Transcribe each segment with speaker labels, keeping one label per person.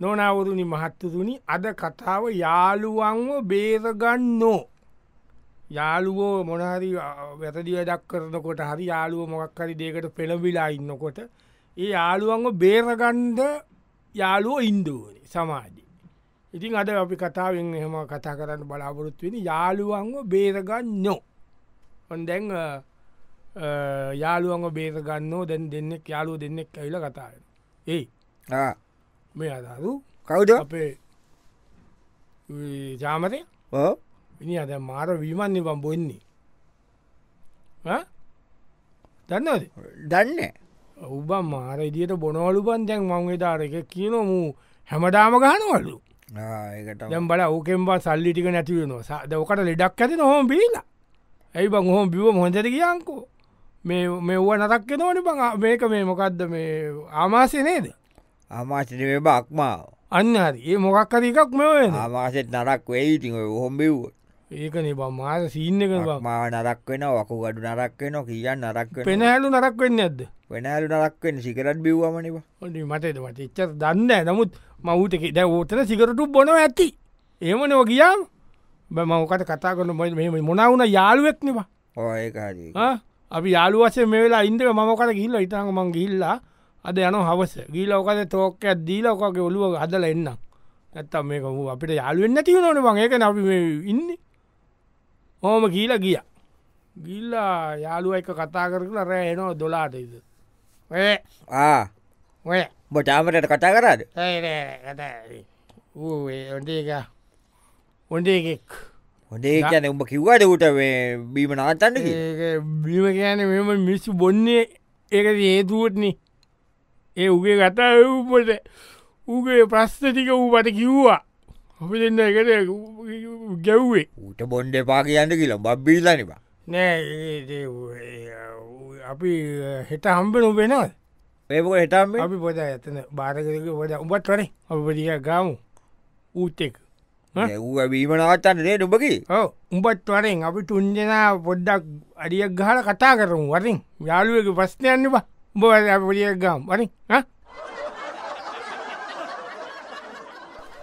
Speaker 1: නොනවරුණි මහත්තතුනි අද කතාව යාළුවන්ව බේරගන්නෝ. යාළුවෝ මොනහරි වැතදිය දක් කරනකොට හරි යාළුව මොක්කරි දේකට පෙළබිලා ඉන්නකොට. ඒ යාළුවන්ව බේරගන්ඩ යාළුවෝ ඉන්දුවනි සමාජි. ඉතින් අද අපි කතාවෙන් එහෙම කතා කරන්න බලාපොරොත්තුවෙන යාළුවන්ව බේරගන්නෝ. ඔොන්දැන් යාළුවන්ව බේරගන්නෝ දැන් දෙන්නෙක් යාළුව දෙන්නෙක් ඇවිල කතාවෙන. ඒ
Speaker 2: ආ,
Speaker 1: මේ අදරු
Speaker 2: කවුද
Speaker 1: අපේ ජාමතය
Speaker 2: ඕ?
Speaker 1: විනි අද මාර වීමන්නේ බම් බොන්නේ ඈ? දන්නවද
Speaker 2: දන්න
Speaker 1: උබන් මාර ඉදිට බොනවලු බන් දැන් මංගේ දාරක කියනොමූ හැමදාම ගහනවලු
Speaker 2: ඒකට
Speaker 1: දැම් බල ඕකෙන්වා සල්ලිටික නැතිවෙනවා සාද ඕකට ලෙඩක් ඇති නොහොම බිලා ඇයි බං හොම බිව මොහොතර කියංකෝ මේ මේ වුව නතක්ක නොන බං ආ, මේක මේ මොකක්ද මේ ආමාසය නේද
Speaker 2: අමාශනවේ බක්මාව
Speaker 1: අන්න හරි ඒ මොකක්කරකක් මෙවෙන
Speaker 2: ආමාසෙත් නරක් වෙයිඉති හොම්බිව්
Speaker 1: ඒකනේ බ මාර සීන්න එක බං
Speaker 2: මා නරක් වෙන වකු ගඩු නරක් වෙන කියන්න නරක් වෙන
Speaker 1: පෙනහැලු නරක් වෙන්න ඇද
Speaker 2: වෙනඇලු නරක් වෙන සිකරත් බිව්වමනිව
Speaker 1: ඔඩි මටද මට එච්චර දන්න නමුත් මවුටක දැ ඕතන සිකරටු බොන ඇති ඒම නෝ ගියාම් බමකට කතා කරන මො මෙම මොනවුන යාළුවෙක්නවා
Speaker 2: ඕඒකාදී
Speaker 1: අපි යාළුවසේ මේලා ඉන්දක මමකට ගිල්ල ඉතාම මං ගිල්ලා අද යන හවස ගීලෝකද තෝකයක් දීලෝකගේ ඔලුව හදල එන්න ඇත්තම් මේක වූ අපිට යාළුවෙන් නැතිව නොන මඒක නැපි ඉන්න හෝම ගීල ගිය ගිල්ලා යාළුව එක කතා කරලා රෑ එනෝ දොලාටද ඒ
Speaker 2: ආ
Speaker 1: ඔය
Speaker 2: බොටාමටට කතා කරද
Speaker 1: ඔඩේක ඔොඩේගෙක්
Speaker 2: හොදේ කියන උඹ කිව්වට උට බීම නාතන්න
Speaker 1: බිම කියන මෙම මිස්සු බොන්නේ ඒක හේතුවත්න ඒ උගේ කතා එව්පොට උගේ ප්‍රස්්ත ටික වූ පට කිව්වා අප දෙන්න එකට ගැව්වේ
Speaker 2: ඌට බොන්්ඩ පා කියන්න කියලා බබ්බිලනිවා
Speaker 1: නෑ ඒ- ඒ- ඒ- ඒ- අපි හෙට හම්බ නොබෙනල්
Speaker 2: ඒක හිටම්
Speaker 1: අපි පොද ඇතන භාරකරක පොද උබත් වනේ අපටිය ගාමු ඌත් එක්
Speaker 2: ඌ බීම නාතන්නනේ නුබකි
Speaker 1: ඔව්. උඹත් වරෙන් අපි තුන්ජනා පොඩ්ඩක් අඩියක් ගහල කතා කරමු වරින් යාළුවක ප්‍රස්්නයන්න බා උඹ පොඩියක් ගම් වරින්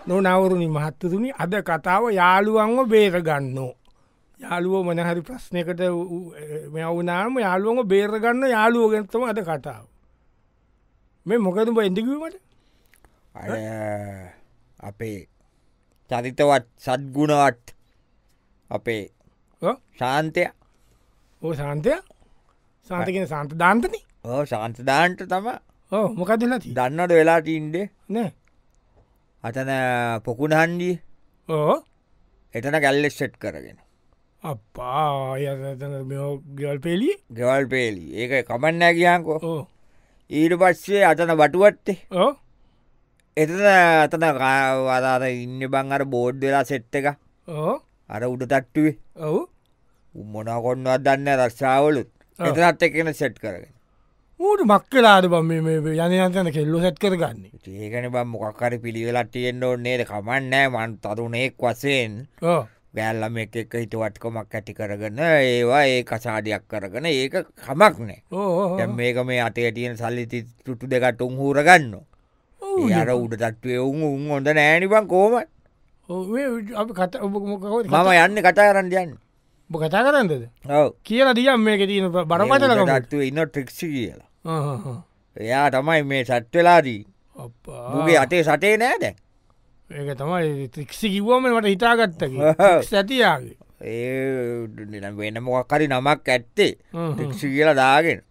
Speaker 1: නොනවරුණි මහත්තතුනි අද කතාව යාළුවන්ව බේරගන්නෝ. යාළුව මනහරි ප්‍රශ්නයකට මෙවනාම යාළුවම බේරගන්න යාළුවගැත්තම අද කතාව. මේ මොකතුම එඳකිවීමට
Speaker 2: අර අපේ චරිතවත් සත්ගුණවත් අපේ ශාන්තය
Speaker 1: ඕ සාන්තය සාන්තකෙන සන්ත ධන්තන
Speaker 2: ඕ ශාන්තදාන්ට තම
Speaker 1: ඕ මොකද ලති
Speaker 2: දන්නට වෙලාට ඉන්ඩ
Speaker 1: නෑ
Speaker 2: අතන පොකුණ හන්ඩි
Speaker 1: ඕ
Speaker 2: එතන ගැල්ලෙස් සෙට් කරගෙන
Speaker 1: අපා අයතන මෙෝ ගල් පෙලි
Speaker 2: ගෙවල් පේලි ඒක කමන්නෑ කියකෝ
Speaker 1: ඕ
Speaker 2: ඊට පස්සේ අතන බටුවත්තේ
Speaker 1: ඕ
Speaker 2: එතන අතන වදාර ඉන්න බං අර බෝඩ් වෙලා සෙට් එක
Speaker 1: ඕ
Speaker 2: අර උඩ තට්ටුවේ
Speaker 1: ඔවු
Speaker 2: උම්මොනකොන්නවත් දන්න රස්සාාවලුත්
Speaker 1: ඔව්.
Speaker 2: එතනත් එකන සෙට් කරගෙන
Speaker 1: ඌට මක්කලාට බම් යන අතන කෙල්ලු සැත් කරගන්නේ
Speaker 2: ඒකන බම් මොකක්කරි පිළිවෙලට තියෙන්න්න ඕන්නේද කමන්නෑ මන් තරුණෙක් වසයෙන්
Speaker 1: ඕ
Speaker 2: ගෑල්ලම එක එක හිටවටකොමක් ඇති කරගන්න ඒවා ඒ කසාඩයක් කරගන ඒක කමක් නෑ
Speaker 1: ඕ
Speaker 2: දැන් මේක මේ අතේ තියෙන සල්ලි ති- තුටු දෙකට උන් හූරගන්න අර උඩ තත්වේ උන් උන් හොඳ නෑනිබං කෝම
Speaker 1: අපි කට ඔබමොකෝද
Speaker 2: මම යන්න කතා කරන්න යන්න
Speaker 1: බ කතා කරන්නද
Speaker 2: ඔව
Speaker 1: කියලා දියම් මේක තියන බරපතලකම
Speaker 2: ටත්ව ඉන්න ට්‍රික්ෂි කියලා එයා තමයි මේ සට්වෙලාදී මගේ අතේ සටේ නෑ දැන්
Speaker 1: ඒක තමයි ත්‍රික්ෂි කිව්වම මට හිතාගත්තක
Speaker 2: ඔව්.
Speaker 1: සැතියාගේ
Speaker 2: ඒ නිකන් වෙන මොකක්කරි නමක් ඇත්තේ ට්‍රික්ෂි කියලා දාගෙන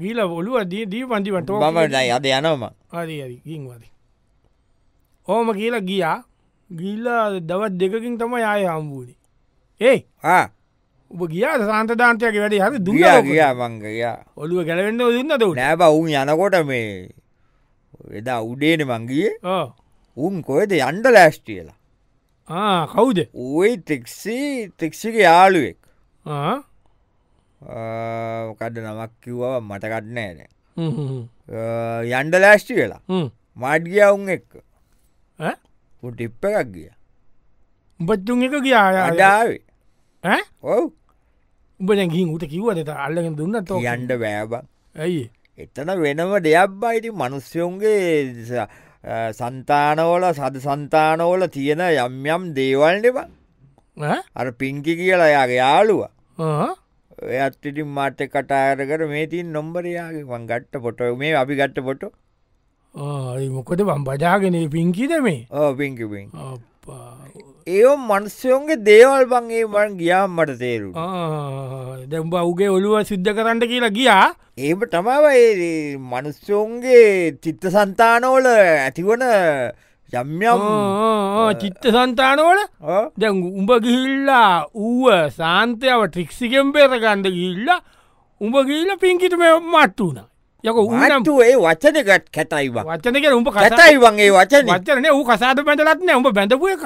Speaker 1: ගීල බොලුව දී දී පන්තිිවට
Speaker 2: මම දැයි අද යනවම
Speaker 1: හරිරි ගින්වද ඕම කියලා ගියා ගිල්ලා දවත් දෙකකින් තම යාය හම්බූලි ඒ උබ ගියා සාන්තධාන්තයක වැඩි හරි
Speaker 2: දිය
Speaker 1: දුිය
Speaker 2: ගියා මංගයා
Speaker 1: ඔලුව ගැලවෙන්න දෙන්න දවන
Speaker 2: නෑබ උන් යනකොට මේ එදා උඩේන මංගිය උන් කොයද යන්ඩ ලෑස්ටියලා
Speaker 1: කවුද
Speaker 2: ඌයි තෙක්සි තෙක්ෂික යාළුවෙක්
Speaker 1: ආ?
Speaker 2: කඩ නමක් කිව්වා මටකටනෑ
Speaker 1: හ්ම් හ්ම්
Speaker 2: නෑ යන්ඩ ලෑස්ටි වෙලා
Speaker 1: හ්ම්.
Speaker 2: මාඩ්ගිය උන් එක්ක
Speaker 1: ඈ?
Speaker 2: ඌ ටිප්ප එකක් ගිය
Speaker 1: උඹත්තුන් එක ගියා
Speaker 2: අඩාවේ ඔව්
Speaker 1: උඹ ගින් උට කිව්වද අල්ලගෙන දුන්න තෝ
Speaker 2: යන්ඩ බෑබ
Speaker 1: ඇයි
Speaker 2: එතන වෙනම දෙයක් බයිති මනුස්්‍යයෝන්ගේ සන්තානවල සද සන්තානවල තියෙන යම් යම් දේවල්නවා
Speaker 1: ඈ?
Speaker 2: අර පිංකි කියලා යාගේ යාලුවා
Speaker 1: ආ.
Speaker 2: ඇත්තිටින් මාර්ත කටාරකට මේ තින් නොම්බරයාගේ වන් ගට්ට පොට මේ අපි ගට්ට පොට
Speaker 1: ආ, ඒ මොකද බම් බජාගෙන පින්කිද මේ
Speaker 2: පිංකිපින්
Speaker 1: අප්පා.
Speaker 2: ඒ මනුස්සයෝන්ගේ දේවල් බංගේ මන් ගියාම් මට තේරු
Speaker 1: ආ, දැන් උඹ උගේ ඔළුව සිද්ධ කරන්න කියලා ගියා
Speaker 2: ඒම තමාව මනුස්්‍යෝන්ගේ චිත්ත සන්තානෝල ඇතිවන යම්යම්
Speaker 1: ආ, ආ, චිත්ත සන්තානවල
Speaker 2: ඕ
Speaker 1: දැන් උඹ ගිහිල්ලා ඌව සාන්තයාව ට්‍රික්සිකෙම් පේරගණ්ඩ ගිල්ල උඹ ගිල්ල පින්කිටම මට්ට වුණ යක ඌනම්
Speaker 2: මාටු ඒ වචනකට කැටයි බං
Speaker 1: වචනක උඹ
Speaker 2: කැටයි වගේ වචන
Speaker 1: වචරන ූ කසාද පැටලත්න උඹ බැඳපු එක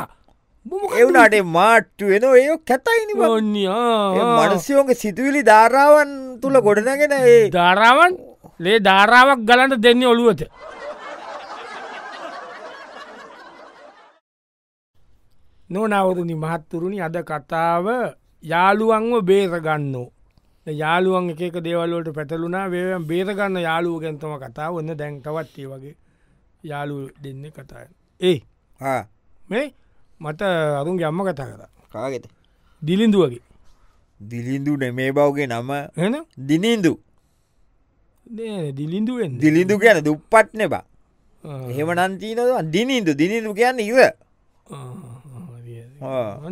Speaker 2: එවුණට මාට්ටු වෙන ඒ කැතයිනි මනුස්යෝක සිතුවිලි ධාරාවන් තුළ ගොඩනගෙන ඒ
Speaker 1: ධාරාවන් ලේ ධාරාවක් ගලන්ට දෙන්න ඔළුවත නොනවරුණි මහත්තුරුණි අද කතාව යාළුවන්ව බේරගන්නෝ යාළුවන් එකක දේවල්ලට පැටලුනා වේම් බේරගන්න යාළුව ගැන්තම කතාව ඔන්න දැන්කවත්ඒ වගේ යාලු දෙන්න කතාය ඒ
Speaker 2: ආ,
Speaker 1: මේ මට අරුන් ගම්ම කතා කර
Speaker 2: කාගෙත
Speaker 1: දිලිඳුවගේ
Speaker 2: දිලිඳු නෙමේ බවගේ නම
Speaker 1: එන
Speaker 2: දිනින්දු
Speaker 1: දිලිඳුවෙන්
Speaker 2: දිලිඳු ගැන දුප්පත් නෙබා එහෙම නන්තිීනවා දිනින්දු දිනිඳු කියන්න ඉව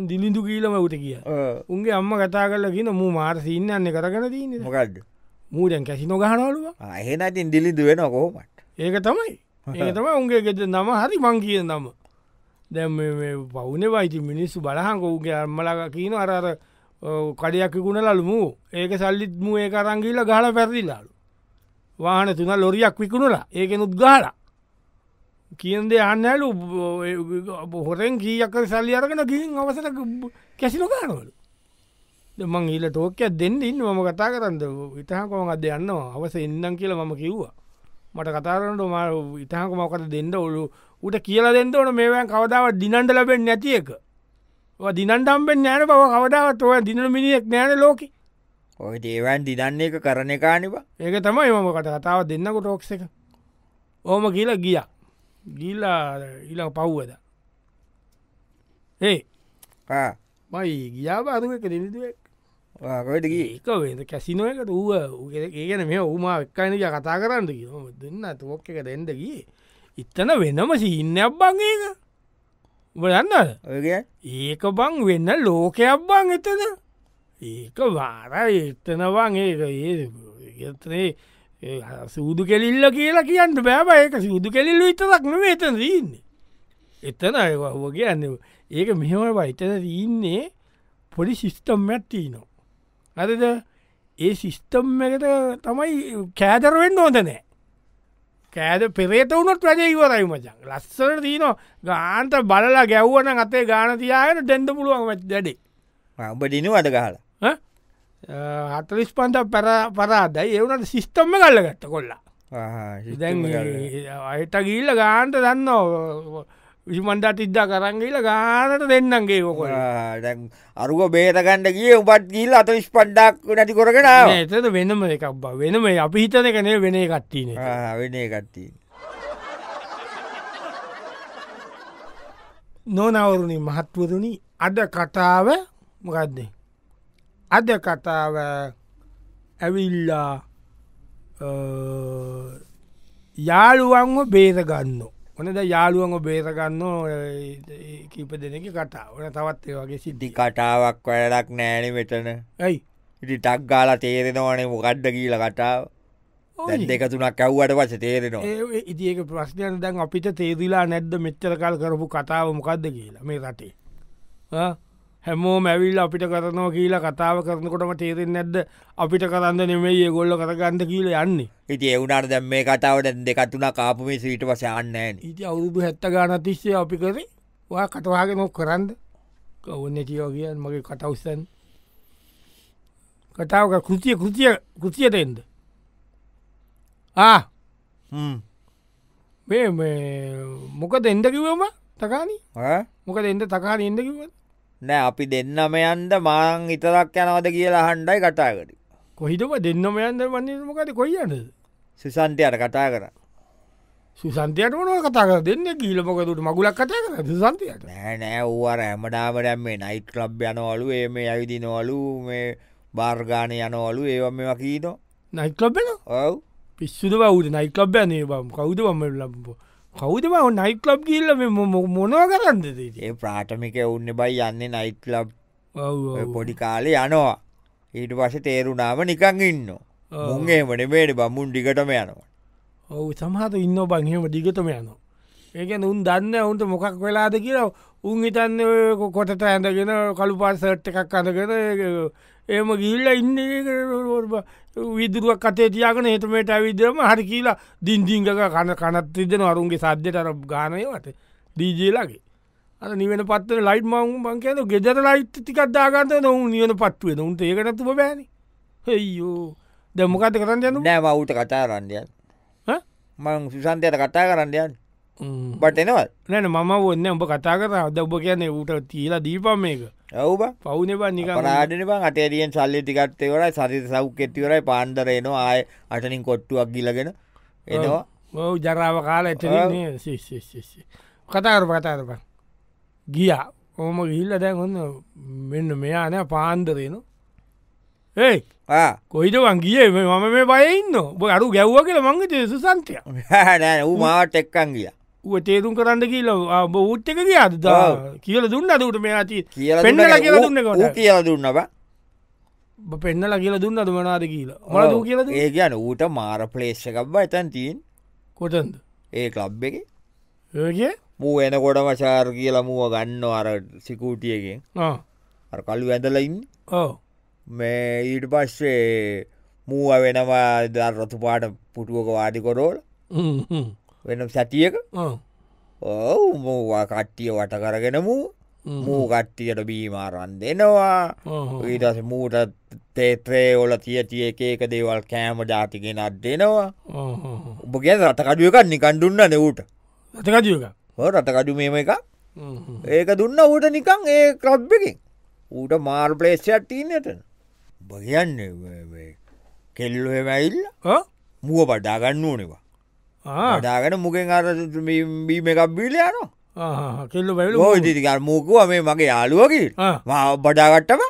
Speaker 1: දිලිඳු කීලම උට කිය උන්ගේ අම්ම කතා කරලා කියෙන මූ මාර සින්නන්න කරගෙන දීන
Speaker 2: මොකක්ද
Speaker 1: මූඩැන් කැසිනො ගහනවලුව
Speaker 2: අහෙනතින් දිලිඳු වෙන කොහොමට
Speaker 1: ඒක තමයි ඒක තම උන්ගේ ගෙත නම හරි මං කිය නම දැම් පවුනේ වයිති මිනිස්සු බලහංකෝගේ අම්මලක කියන අරර ඔව් කඩයක් විකුණලලුමු ඒක සල්ලිත් මු ඒ අරංගිල්ල ගහල පැරදිලාලු වාහන තුන ලොරියක් විකුණලා ඒක නුත් ගාල කියන්ද අන්නලු හොරෙන් කියීයක සල්ලි අරගෙන ගිහින් අවසර කැසින ගානවලු දෙමං ඊල ටෝකයක් දෙන්න ඉන්න මම කතා කරන්න ඉතහකොම අද යන්නවා අවස එන්නම් කියලා මම කිව්වා මට කතාරට ම ඉතහක මොකට දෙන්න ඔලු උට කියලා දෙන්න ඕන මේවැන් කවදාව දිනන්ට ලබෙන් නැති එක ඔය දිනන්ටම්පෙන් නෑන බව කවදාවත් ඔය දින මිනිියෙක් නෑන ලෝක
Speaker 2: ඔය ඒවන් දිදන්න එක කරන කානිවා
Speaker 1: ඒක තමයි මමකට කතාව දෙන්නක ටෝක්ස එක ඕම කියලා ගිය ගිල්ලා ඉල පව්වද ඒ මයි ගියාබාරුවක දිනිදුවක්
Speaker 2: වාකොටකී
Speaker 1: ඒක වෙද කැසිනෝ එක ඌව ඒගන මේ උමා එක්කයිනක කතා කරන්න කිම දෙන්න තුොක් එක දෙන්දගිය ඉත්තන වෙනම සිහින්නයක් බං ඒක බලන්නද
Speaker 2: ඔයගේ
Speaker 1: ඒක බං වෙන්න ලෝකයක් බං එතන ඒක වාර එතනවන් ඒක ඒතනේ සූදු කෙලිල්ල කියලා කියන්න බෑබ ඒක සූදු කෙලිල්ල විතරක්ම එතන දීන්නේ එතන අයහුව කියන්න ඒක මෙහම බයිතන දීන්නේ පොඩි සිිස්ටම් ඇත්තිනෝ අදද ඒ සිිස්ටම් එකට තමයි කෑදරවෙන්න ඕතනෑ කෑද පෙරේත වුණොත් වැඩ ඉවරයි මචන් ලස්සට දීන ගාන්ත බලලා ගැව්වන අතේ ගානතියායට දෙන්ඩ පුළුවන් වැත් දැඩි
Speaker 2: උඹ දිනු අද ගහලා
Speaker 1: හතලිස් පන්ට පැර පරාදයි ඒවනට සිිස්ටම්ම කල්ල ගත්ත කොල්ලා
Speaker 2: ආහා,
Speaker 1: දැන්
Speaker 2: සිස්ටම් එක අරගෙන.
Speaker 1: අයට ගිල්ල ගාන්ට දන්න විසිමන්ඩට ඉද්දා කරංගීල ගානට දෙන්නන්ගේ කොල
Speaker 2: ආ, දැන් අරුව බේතකණ්ඩ ගිය උපත් ගිල් අත විස්්පඩ්ඩක් නැති කොරගෙන ආවා.
Speaker 1: එතද වෙනම එකක් බ වෙනම අපි හිතන කනේ වෙන කට්ටීන
Speaker 2: ආ, වෙන එකත්තිී
Speaker 1: නොනවරුණි මහත්වරුණි අද කතාව මොකක්දේ අද කතාව ඇවිල්ලා යාළුවන්ව බේරගන්න ඕනද යාළුවන්ව බේරගන්න කීප දෙනක කතා ඕන තවත් ඒ වගේ සිද්ධි
Speaker 2: ඉදි කටාවක් වැඩක් නෑන මෙතන
Speaker 1: ඇයි
Speaker 2: ඉටි ටක් ගාල තේරෙනවනේ මොකඩ්ඩ කියීල කටාව දැන් දෙක තුනක් ඇව්වට පස තේරෙනවා
Speaker 1: ඒ ඉතිඒක ප්‍රශ්නයන දැන් අපිට තේදිලා නැද්ද මෙච්චර කල් කරපු කතාව මොකක්ද කියලා මේ රටේ ආ? හැමෝම ඇවිල් අපිට කරනවා කියලා කතාව කරනකොටම තේරෙන් නැද්ද අපිට කරන්න නෙමේ ඒ ගොල්ල කරගන්න කියල යන්නේ
Speaker 2: ඉති එවුණට දැම් මේ කතාව දැන් දෙක තුනා කාපුමේ සීට පස යන්නෑන
Speaker 1: ඉති අවුරුදු හැත්ත ගානතිශ්‍යය අපි කරේ වා කටවාගෙන නොක් කරන්න ඔන්න කියෝ කියන් මගේ කටවස්සන් කතාවක කෘතිය කෘතිය කෘතියට එන්ද ආ මේ මේ මොකද එන්ඩ කිවම තකානි මොකද එන්ට තකාන එන්ඩ කිව
Speaker 2: නෑ අපි දෙන්නම යන්ද මාං ඉතරක් යනවද කියලා හන්ඩයි කටාකට
Speaker 1: කොහිටම දෙන්නම යන්ද වන්නේ මොකද කොයියන්නද
Speaker 2: සුසන්තයට කටා කර
Speaker 1: සුසන්තයට ඕනව කතාකර දෙන්න කීලමොකතුට මගුලක් කතය කර සුසන්තයට
Speaker 2: නෑනෑ ඕවර ඇමඩාමඩම් මේ නයිට් ලබ් යනවලු ඒ මේ ඇවිදිනවලු මේ බාර්ගාන යනවලු ඒව මේ වකීට
Speaker 1: නයිකලබ්බෙන
Speaker 2: ඔව්
Speaker 1: පිස්සුද බවුද නයිකලබ් යනේ බම් කවුද බම ලබ කවුද බව නයිකලබ් කියල්ල මොනව කරන්නදේ
Speaker 2: ඒ ප්‍රාථමික ඔන්න බයි යන්නේ නයිට් ලබ් පොඩි කාලේ යනවා ඊට පස තේරුණාම නිකං ඉන්න මුන්ගේ මට මේට බමුන් ඩිගටම යනවා
Speaker 1: ඔවු සමහත ඉන්න බංහෙම දිගතම යනවා ඒකන උන් දන්න ඔුන්ට මොකක් වෙලාද කියලා උන් හිතන්න ඔය කො- කොටට ඇඳගෙන කළු පාසට් එකක් අඳගෙන ඒම ගිල්ල ඉන්න විදුරුවක් කතේ තියාගෙන හතමට ඇවිදම හරි කියලා දිින්දිංගක කන කනත් දෙන අරුන්ගේ සද්ධ්‍යටර ගානයවට දීජේලාගේ අ නිවෙන පත්ව ලයිට් මවු බංකයන ගෙදර ලයිට් තිකක්දාගන්ත නොවු නිවන පත්වෙන උන්ට ඒකනැතුව බෑන හෙයෝ දැමකත කරන්න යනු
Speaker 2: නෑ මවුට කතා කරන්ඩයන්
Speaker 1: ඈ?
Speaker 2: මං සුසන්තයට කතා කරන්ඩයන් බට එනවත්
Speaker 1: නැන මම ඔන්න උඹ කතා කර අද ඔබ කියන්නේ ඌට තියලා දීපම් මේක
Speaker 2: ඔවබ
Speaker 1: පවුනෙබා නික
Speaker 2: පරාඩන බං අටේරියෙන් සල්ලි ටිකත්තේවරයි සරි සව් කෙතිවරයි පාන්දරයනවා ආය අටනින් කොට්ටුවක් ගිලගෙන එනවා
Speaker 1: ඔව ජරාව කාල ඇත කතාර කතාරප ගියා ඕම ගිල්ල දැන් ඔන්න මෙන්න මෙයාන පාන්දරයන ඒ
Speaker 2: ආ.
Speaker 1: කොයිටවන් ගිය මම මේ බයඉන්න ඔබ අරු ගැව්ව කියල මංග තේසු සන්තය
Speaker 2: නෑ ඌ මාවට එක්කන් ගිය
Speaker 1: ඌ තේරුම් කරන්න කියල බෞට් එක කිය අද
Speaker 2: ඔව්.
Speaker 1: කියල දුන්න අදට මෙයාති
Speaker 2: කියලා
Speaker 1: පෙන්නලා
Speaker 2: දුන්න
Speaker 1: කියලා
Speaker 2: ඌ-
Speaker 1: දුන්න
Speaker 2: ඌ
Speaker 1: කොට.
Speaker 2: කියලා දුන්න බ
Speaker 1: පෙන්නල කියල දුන්න අදමනාද කියලා මල දූ කියලද
Speaker 2: ඒ කියන ඌට මාර පලේෂ්කක්බ ඇතැන් තිීන්
Speaker 1: කොටන්ද
Speaker 2: ඒ කලබ් එක
Speaker 1: ඒගේ
Speaker 2: මූ එනකොටම චාර් කියලා මුව ගන්න අර සිකූටියකින්
Speaker 1: 어.
Speaker 2: අර කලු ඇඳලයින්
Speaker 1: ඕ
Speaker 2: මේ ඊට පස්සේ මූව වෙනවා දර්රතු පාට පුටුවක වාඩිකොරෝල වෙන සැටියක
Speaker 1: 어.
Speaker 2: ඔවු මූවා කට්ටිය වට කරගෙන මූ මූ කට්ටියට බීමාරන් දෙනවා
Speaker 1: 어,
Speaker 2: ඊටස මූට තේත්‍රේ ඔල තියටිය එක එක දේවල් කෑම ජාතිකෙන අත් දෙනවා
Speaker 1: 어,
Speaker 2: ඔබ ගැ රටකඩුවකක් නිකණ්ඩුන්න නෙවූට
Speaker 1: ඇතකජයක
Speaker 2: රටකඩු මේම එක ඒක දුන්න ඌට නිකං ඒ ක්‍රබ්බකින් ඌට මාර් පලේෂයක් තිීනට බගයන්නේ කෙල්ලුව මැයිල්ල
Speaker 1: 어?
Speaker 2: මුව පඩාගන්න ඕනවා
Speaker 1: 아,
Speaker 2: පඩාගෙන මුගෙන් අර බීම එකක් බිලයන
Speaker 1: කෙල්ල බැල
Speaker 2: ලෝජතිකල් මූකුව මේ මගේ යාලුවකි
Speaker 1: 아,
Speaker 2: බඩාගට්ටම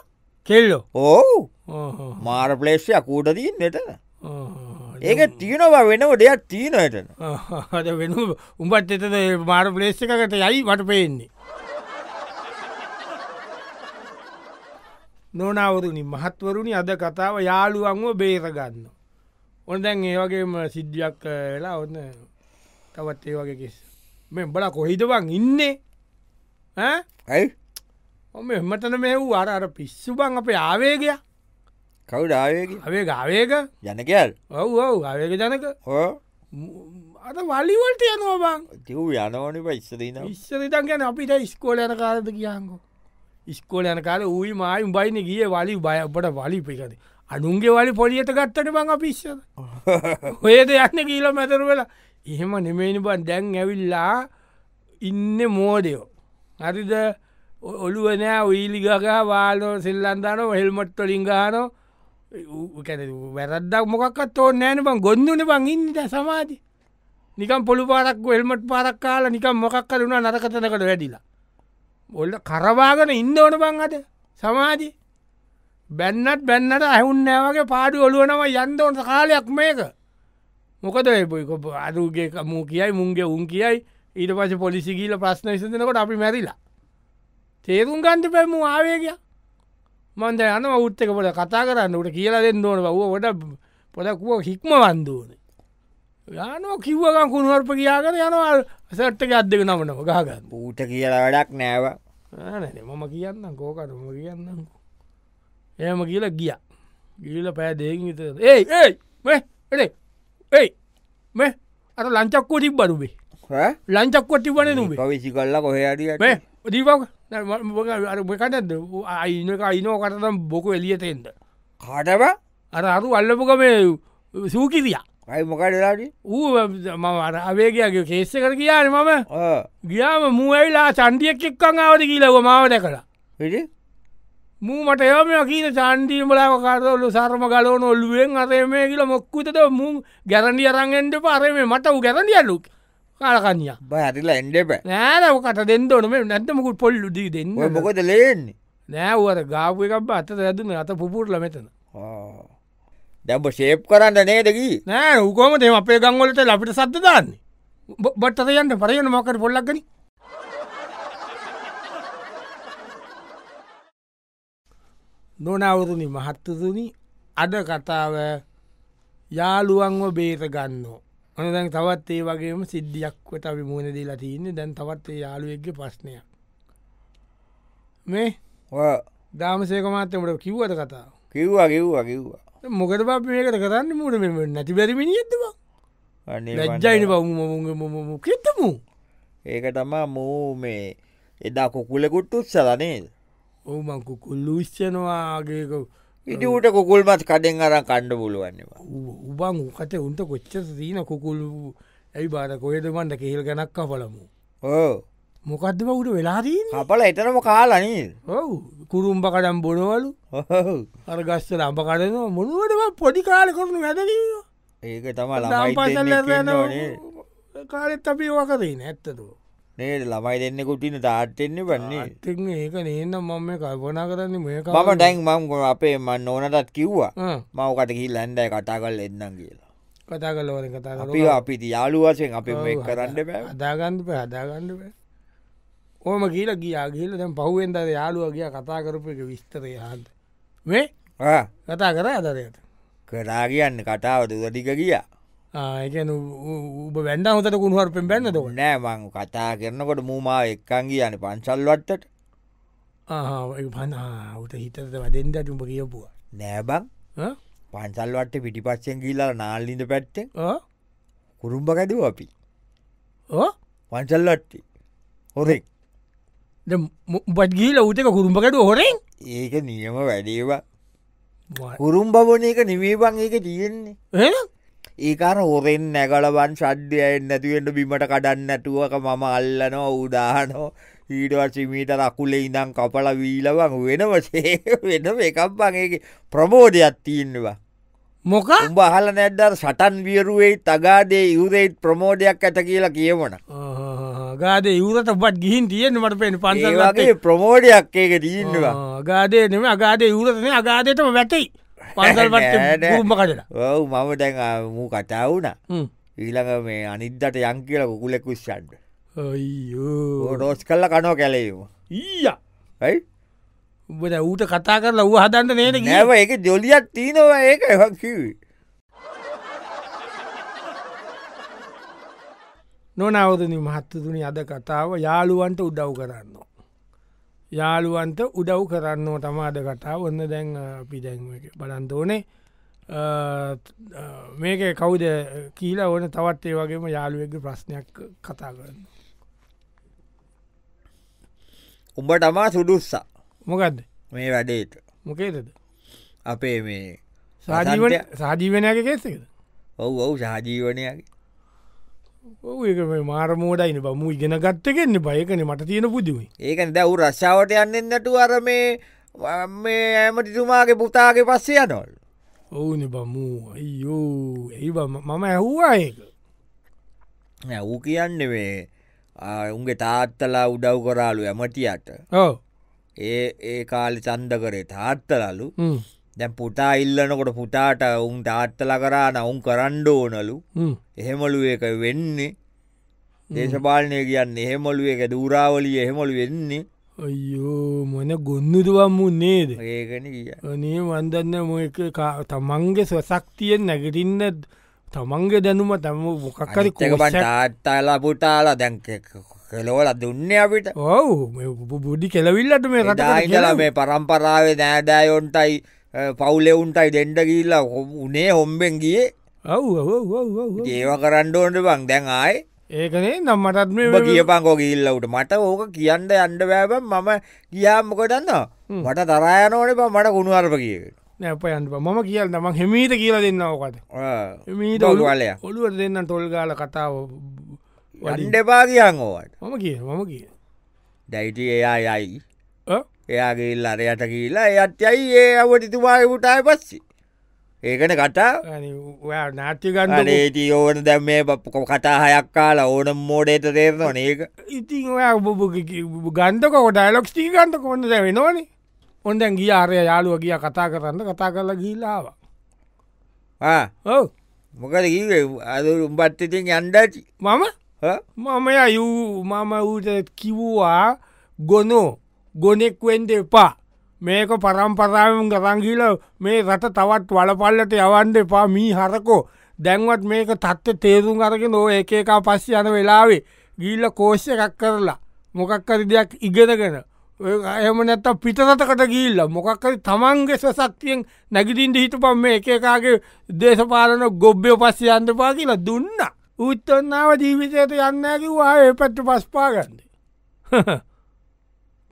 Speaker 1: කෙල්ලෝ
Speaker 2: ඕහු
Speaker 1: ආ,
Speaker 2: මාර පලේෂය කූට තිීන් නෙට
Speaker 1: 어, ආ.
Speaker 2: ඒක තියනවා වෙනව දෙයක් තිීනයටන
Speaker 1: ආ, අද වෙන උඹත් එතද මාර පලේස් එකකට යයි වට පේන්නේ නොනවරුණි මහත්වරුණි අද කතාව යාළුවන්ව බේරගන්න ඔන්න දැන් ඒවගේම සිද්ධියක් වෙලා ඔන්න තවත් ඒ වගේ කිස් මෙ බල කොහිදවන් ඉන්නේ ඈ?
Speaker 2: ඇයි
Speaker 1: ඔම එමතන මේ වූ අර අර පිස්සු බං අපේ ආවේගය
Speaker 2: කවුඩාවයකි
Speaker 1: අවේ ගාවේක
Speaker 2: යනකල්
Speaker 1: ඔව් ඔව් ආවේග ජනක
Speaker 2: හෝ
Speaker 1: ම්, අද වලිවලට යනවා බං
Speaker 2: තිව් යනවනි පයිස්සදීන
Speaker 1: ඉස්සරිතන් ගැන අපිට ඉස්කෝල යන කාලද කියංකෝ ඉස්කෝල යන කාල ඌයි මායිම් බයින ගිය වලි බය අපට වලි පිකද අනුන්ගේ වලි පොලියට ගත්තට බං අපිස්සද හොයද යන්න කියීල මැතර වෙලා එහෙම නෙමේනි බන් දැන් ඇවිල්ලා ඉන්න මෝඩයෝ හරිද ඔ- ඔළුවනෑ වීලිගකා වාලෝ සෙල්ලන්දාන හෙල්මට්ට ලිංගානෝ කැන වැරද්දක් මොකක්ත් ඕ නෑන බං ගොන්දුන බං ඉන්ද සමාධි නිකම් පොළු පාරක් වෙල්මට් පාරක් කාල නිකම් මොකක් කරුණා නරකතනකට වැඩිලා ඔල්ල කරවාගෙන ඉන්න ඕන බං අද සමාජි බැන්නත් බැන්නට ඇහුන්නෑවගේ පාඩු ඔලුවනම යන්දෝන්ට කාලයක් මේක මොකද එබයික අරුගේ මූ කියයි මුන්ගේ උන් කියයි ඊට පස පොලිසිගීල ප්‍රශ්න විසඳනකොට අපි මැරිලා තේරුම් ගන්ට පැම ආවේගය මන්ද යන උත්තක පොට කතා කරන්න ට කියලා දෙන්න ඕන බව ොට පොදකුව හික්ම වන්දෝන යනෝ කිව්වකන් කුණුවර්ප කියාගෙන යනවා සට්ටක අත්දක නමනම ගාගන්න
Speaker 2: ඌට කියලා වැඩක් නෑව
Speaker 1: ආනේ මම කියන්න කෝකට ම කියන්න එහම කියලා ගිය ගීල පෑ දෙකින් විත ඒ ඒ එඩේ ඒ මේ අර ලංචක්කෝ තිබ බරුබේ
Speaker 2: ඈ?
Speaker 1: ලංචක්කො තිබන නුබේ
Speaker 2: පවිසි කල්ල කොහේ
Speaker 1: මේ
Speaker 2: අඩියට
Speaker 1: දීපක් කටද අයිනක අයිනෝ කටතම් බොකු එලියතෙන්ද
Speaker 2: කාටව
Speaker 1: අර අරු අල්ලපුකමේ සූකිරිය
Speaker 2: අයි මොකඩලාඩි
Speaker 1: ඌ මම අර අවේගයගේ කේස්ස කර කියන මම ගියාම මූඇවිලා චන්ඩියක් එක්කං ආවට කියීලව මාව දැකලා
Speaker 2: විඩි
Speaker 1: මූමට යම කීන චන්ඩීමලාව කරලු සර්ම ගලෝන ඔල්ලුවෙන් අරේ මේ කියල මොක්කුතද මුන් ගැරන්ඩිය අරන්ගෙන්ට පරේ මට වූ ගැරන්ඩියලුක් කාලකන්යා
Speaker 2: බහරිලා එන්ඩපෑ
Speaker 1: නෑන කට දෙන්නඩනම නැත්තමකුත් පොල්ලු දී දෙන්න
Speaker 2: ඔය මොකොද ලේන්නේ
Speaker 1: නෑවට ගාපු එකක් අත ඇදන අත පුපුරල මෙතන
Speaker 2: දැබ ශේප් කරන්න නේදකී
Speaker 1: නෑ උකෝම තෙම අපේ ගංවලට ලපිට සත්ත දාන්නේ බට්ටත යන්න පරයන මොකට පොල්ලක්ගනි නොනවරුණි මහත්තතුනි අද කතාව යාළුවන්ව බේත ගන්නෝ අන දැන් තවත් ඒ වගේම සිද්ධියක්වට අපි මුණදී ලතින්නේ දැන් තවත් ඒ යාළුවෙක්ගේ ප්‍රශ්නයක් මේ දාමසේකමාත්තමට කිව්වට කතාව
Speaker 2: කිව්වා කිව්වා කිව්වා
Speaker 1: මොකට ප මේකට කරන්න මුට මෙම නැති බැරිමිනි ඇත්වා
Speaker 2: අනේ
Speaker 1: ලැජ්ජයින පවම කෙත්තමු
Speaker 2: ඒක තමා මූ මේ එදා කොකුලෙකුට් උත්සලනේද
Speaker 1: ඕමංකු කුල්ලු විශ්්‍යනවාගේක
Speaker 2: ඉටට කොකුල්මත් කඩෙන් අර කණ්ඩ පුලුවන්නවා
Speaker 1: උබන් උකට උන්ට කොච්චර දීන කොකුල් ඇයි බාර කොයද මන්ද කෙහෙල් ගැනක් පලමු
Speaker 2: ඕ
Speaker 1: මොකක්ද බවට වෙලාදී
Speaker 2: අපල එතනම කාලනීද
Speaker 1: ඔවු කුරුම්ඹ කඩම් බොනවලු අරගස්සල අඹ කඩන මොනුවට පොඩි කාල කරනු වැදලීවා
Speaker 2: ඒක තමා
Speaker 1: දාම්පසල්
Speaker 2: ළමයිනේ
Speaker 1: කාලෙත් අපි වකරේ නැත්තතුව
Speaker 2: නේද ළමයි දෙන්නෙකුටින තාට්ටෙන්න්නේ වන්නේ
Speaker 1: අත්ති ඒක නන්න මම මේ කල්පනා කරන්න මේ
Speaker 2: මම ඩැන් මං අපේ මන් ඕනටත් කිව්වා මවකට කිල් ලැන්ඩයි කටා කල් එන්නම් කියලා
Speaker 1: කතා කලවර කතා කර
Speaker 2: අපි අපිති යාලුවසයෙන් අපි මේ කරන්න බෑ
Speaker 1: අදාගන්ධ ප හදාගන්නප ඕම කියල ගියා කියල දැම් පහුවෙන්ද යාලුව ගිය කතා කරපු එක විස්තරය හන්ද මේ
Speaker 2: ආ,
Speaker 1: කතා කර අදරයට
Speaker 2: කරා කියන්න කටාව දුදටික ගිය
Speaker 1: ආයක උබ වැඩ හොතට කුණුවර පෙන් බැන්න දොන
Speaker 2: නෑ මං කතා කරනකොට මූමා එක්කන් කියන පන්සල් වට්ටට
Speaker 1: පනාවට හිතට වැඩෙන්ද චුම්ප කියපුවා
Speaker 2: නෑබං
Speaker 1: ඈ?
Speaker 2: පන්සල් වට්ට පිටිපස්සෙන් ගිල්ලා නාල්ලිඳ පැත්තෙන්
Speaker 1: ඕ?
Speaker 2: කුරුම්ඹ කැඩුව අපි
Speaker 1: ඕ?
Speaker 2: පන්සල් වට්ටි හොරෙක්
Speaker 1: දැන් මු- උඹත් ගීල උතක කුරුම්පකට හොරෙන්
Speaker 2: ඒක නියම වැඩේවා කුරුම්බවන එක නිවේබං ඒක තියෙන්නේ ඒකාර හොරෙන් නැගලවන් ශද්ධයයෙන් නැතිවෙන්ට බිමට කඩන්න ඇටුවක මම අල්ලනෝ උදාහනෝ ඊටවත් සිමීට රකුල ඉඳම් කපල වීලවන් වෙනවසේ වෙනම එකක් බගේ ප්‍රමෝධයක් තියන්නවා
Speaker 1: මොක
Speaker 2: උඹ අහල නැද්දර් සටන් වියරුවේ තගාදේ යුරේට් ප්‍රමෝධයක් ඇත කියලා කියමන
Speaker 1: ගාද ඉවරට බත් ගිහින් තියෙන මට පෙන් පන්සගේ
Speaker 2: ඒගේ ප්‍රමෝඩයක් ඒක දීන්නවා
Speaker 1: ගාදය නම අගාදය ඉවරතන අගාදයටම වැටයි පන්සල්පට
Speaker 2: නෑ, නෑ.
Speaker 1: කුරුම්ම කටට
Speaker 2: ඔව මම දැන් මූ කටාවුණ ඊළඟ මේ අනිද්දට යං කියල කුකුලෙකුස්සන්ට
Speaker 1: අයියෝ
Speaker 2: රෝස් කල්ල කනෝ කැලීම
Speaker 1: ඊය
Speaker 2: යි
Speaker 1: උබට ඌට කතා කරලා ඌ හදන්ට නේන ග
Speaker 2: නැව එක ජොලියත් තියනවා ඒක එහකිවී
Speaker 1: නොනවදන මහත්තතුනි අද කතාව යාළුවන්ට උදව් කරන්න. යාළුවන්ට උදව් කරන්න තම අද කතාව ඔන්න දැන් අපි දැන් බලන්ත ඕනේ අ, අ, මේක කවුද කියීල ඕන තවත් ඒ වගේම යාළුවෙක්ග ප්‍රශ්නයක් කතා කරන්න.
Speaker 2: උඹ තමා සුදුස්සා
Speaker 1: මොකක්ද
Speaker 2: මේ වැඩේට
Speaker 1: මොකේදද
Speaker 2: අපේ මේ
Speaker 1: සාජීවන
Speaker 2: වසන්තය-
Speaker 1: සාජීවනයක කෙස්සකද
Speaker 2: ඔව් ඔව් සාජීවනයගේ
Speaker 1: ඒක මාරමෝඩයින බමු ඉගෙන ගත්තකෙන්නේ බයකන මට තියෙන පුදුවයි
Speaker 2: ඒකන දැව් රශ්ාවට යන්නෙන් නැටු අර මේ වම් මේ ඇමටිතුමාගේ පුතාගේ පස්සේ යනොල්
Speaker 1: ඔවුන බමූ අයියෝ ඒ මම ඇහ්වා ඒක
Speaker 2: නෑ, ඌ කියන්න මේ ආ, උන්ගේ තාත්තලා උඩව් කරාලු ඇමටියට
Speaker 1: ඕ
Speaker 2: ඒ ඒ කාලි සන්ද කරේ තාත්තලලු
Speaker 1: ම්.
Speaker 2: දැන් පුටා ඉල්ලනකොට පුටාට උන් තාත්තල කරා නවුන් කරණ්ඩ ඕනලු
Speaker 1: ම්.
Speaker 2: එහෙමලු එක වෙන්නේ දේශපාලනය කියන්න එහෙමලු එක දූරාවලිය එහෙමලු වෙන්නේ
Speaker 1: අයියෝ මොන ගොන්නුදුවම්මු නේද
Speaker 2: ඒකන කිය
Speaker 1: අනේ වන්දන්න මොක තමන්ගේ ස්වසක්තියෙන් නැගටින්න තමන්ගේ දැනුම තම මොකක්කරි
Speaker 2: අනිත්තකපන් තාත්තාලා පුටාලා දැන් කෙලවල දුන්න අපිට
Speaker 1: ඔවු බුඩි කෙලවිල්ලට මේ
Speaker 2: දායිදලා මේ පරම්පරාවේ නෑදෑයොන්ටයි පවුලෙවුන්ටයි දෙන්ඩ කියල්ලා උනේ හොම්බෙන් ගිය
Speaker 1: ඔව
Speaker 2: ඒව කරණ්ඩෝන්ට බං දැන් ආය
Speaker 1: ඒකනේ නම් මටත් මේ
Speaker 2: උඹ කියපංකෝ ගිල්ලවට මට ඕක කියන්න අන්ඩ බෑබම් මම කියාමකොටන්න මට තරයනෝන බ මට ගුණු අරප කියවෙන
Speaker 1: නැප යන්ට මම කියල් නමක් හෙමීට කියලා දෙන්න ඕකට මීට
Speaker 2: දවලය
Speaker 1: ඔළුවට දෙන්න ටොල් ගාල කතාව වඩින්
Speaker 2: වන්ඩපා කියන්න ඕවට
Speaker 1: මම කිය මම කිය
Speaker 2: දැයිට එයා යයි එයාගේල් අරයට කියලා එයත් යයි ඒ අවට තුමාය පුටාය පස්සි ඒකන කටා
Speaker 1: ඔයා නාට්‍යගන්න
Speaker 2: අනේටී ඕන දැම් මේ පපුකො කතා හයක් කාලා ඕන මෝඩේට තේරෙනවා නේක
Speaker 1: ඉතින් ඔයා ගන්තකොට ඩයිලොක්ස් ටී ගන්ත කොන්න දැ වෙනවානේ ඔොන්දැන් ගිය ආරය යාලුව ගිය කතා කරන්න කතා කරලා ගිල්ලාව
Speaker 2: ආ
Speaker 1: ඔව
Speaker 2: මොකද කිවේ අද උම්බත් ඉතින් යන්ඩචි
Speaker 1: මම මම යු මම ඌට කිව්වා ගොනෝ ගොනෙක් වෙන්ඩ එපා මේක පරම්පරාවෙන් ගරංගිල මේ රට තවත් වලපල්ලට යවන්ඩ එපා මී හරකෝ දැන්වත් මේක තත්ත තේරුම් අරගෙන නෝ ඒකා පස්ස යන වෙලාවේ ගිල්ල කෝෂ්‍ය එකක් කරලා මොකක්කරි දෙයක් ඉගෙනගෙන එම නැත්ත පිටරතකට ගිල්ල මොකක්කරි තමන්ගේ සසක්තියෙන් නැගිටින්ට හිටපම් මේ එකකාගේ දේශපාලන ගොබ්බය පස්ස යන්දපා කියලා දුන්න උත්තන්නාව ජීවිතයට යන්නකිවා ඒ පැත්ට පස්පාගන්න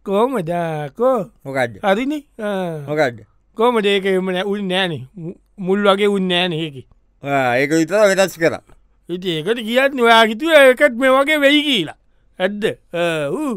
Speaker 1: කෝමදකෝ
Speaker 2: මොකක්ද
Speaker 1: හරිනි
Speaker 2: මොකක්ද
Speaker 1: කෝම දේක එම උන් නෑනේ මුල් වගේ උන්නෑන ඒකි
Speaker 2: ඒක විතර වෙනස් කර
Speaker 1: ඉති ඒකට කියන්න ඔයා හිතුව ඒකත් මේ වගේ වෙයි කියලා ඇද්ද ඌ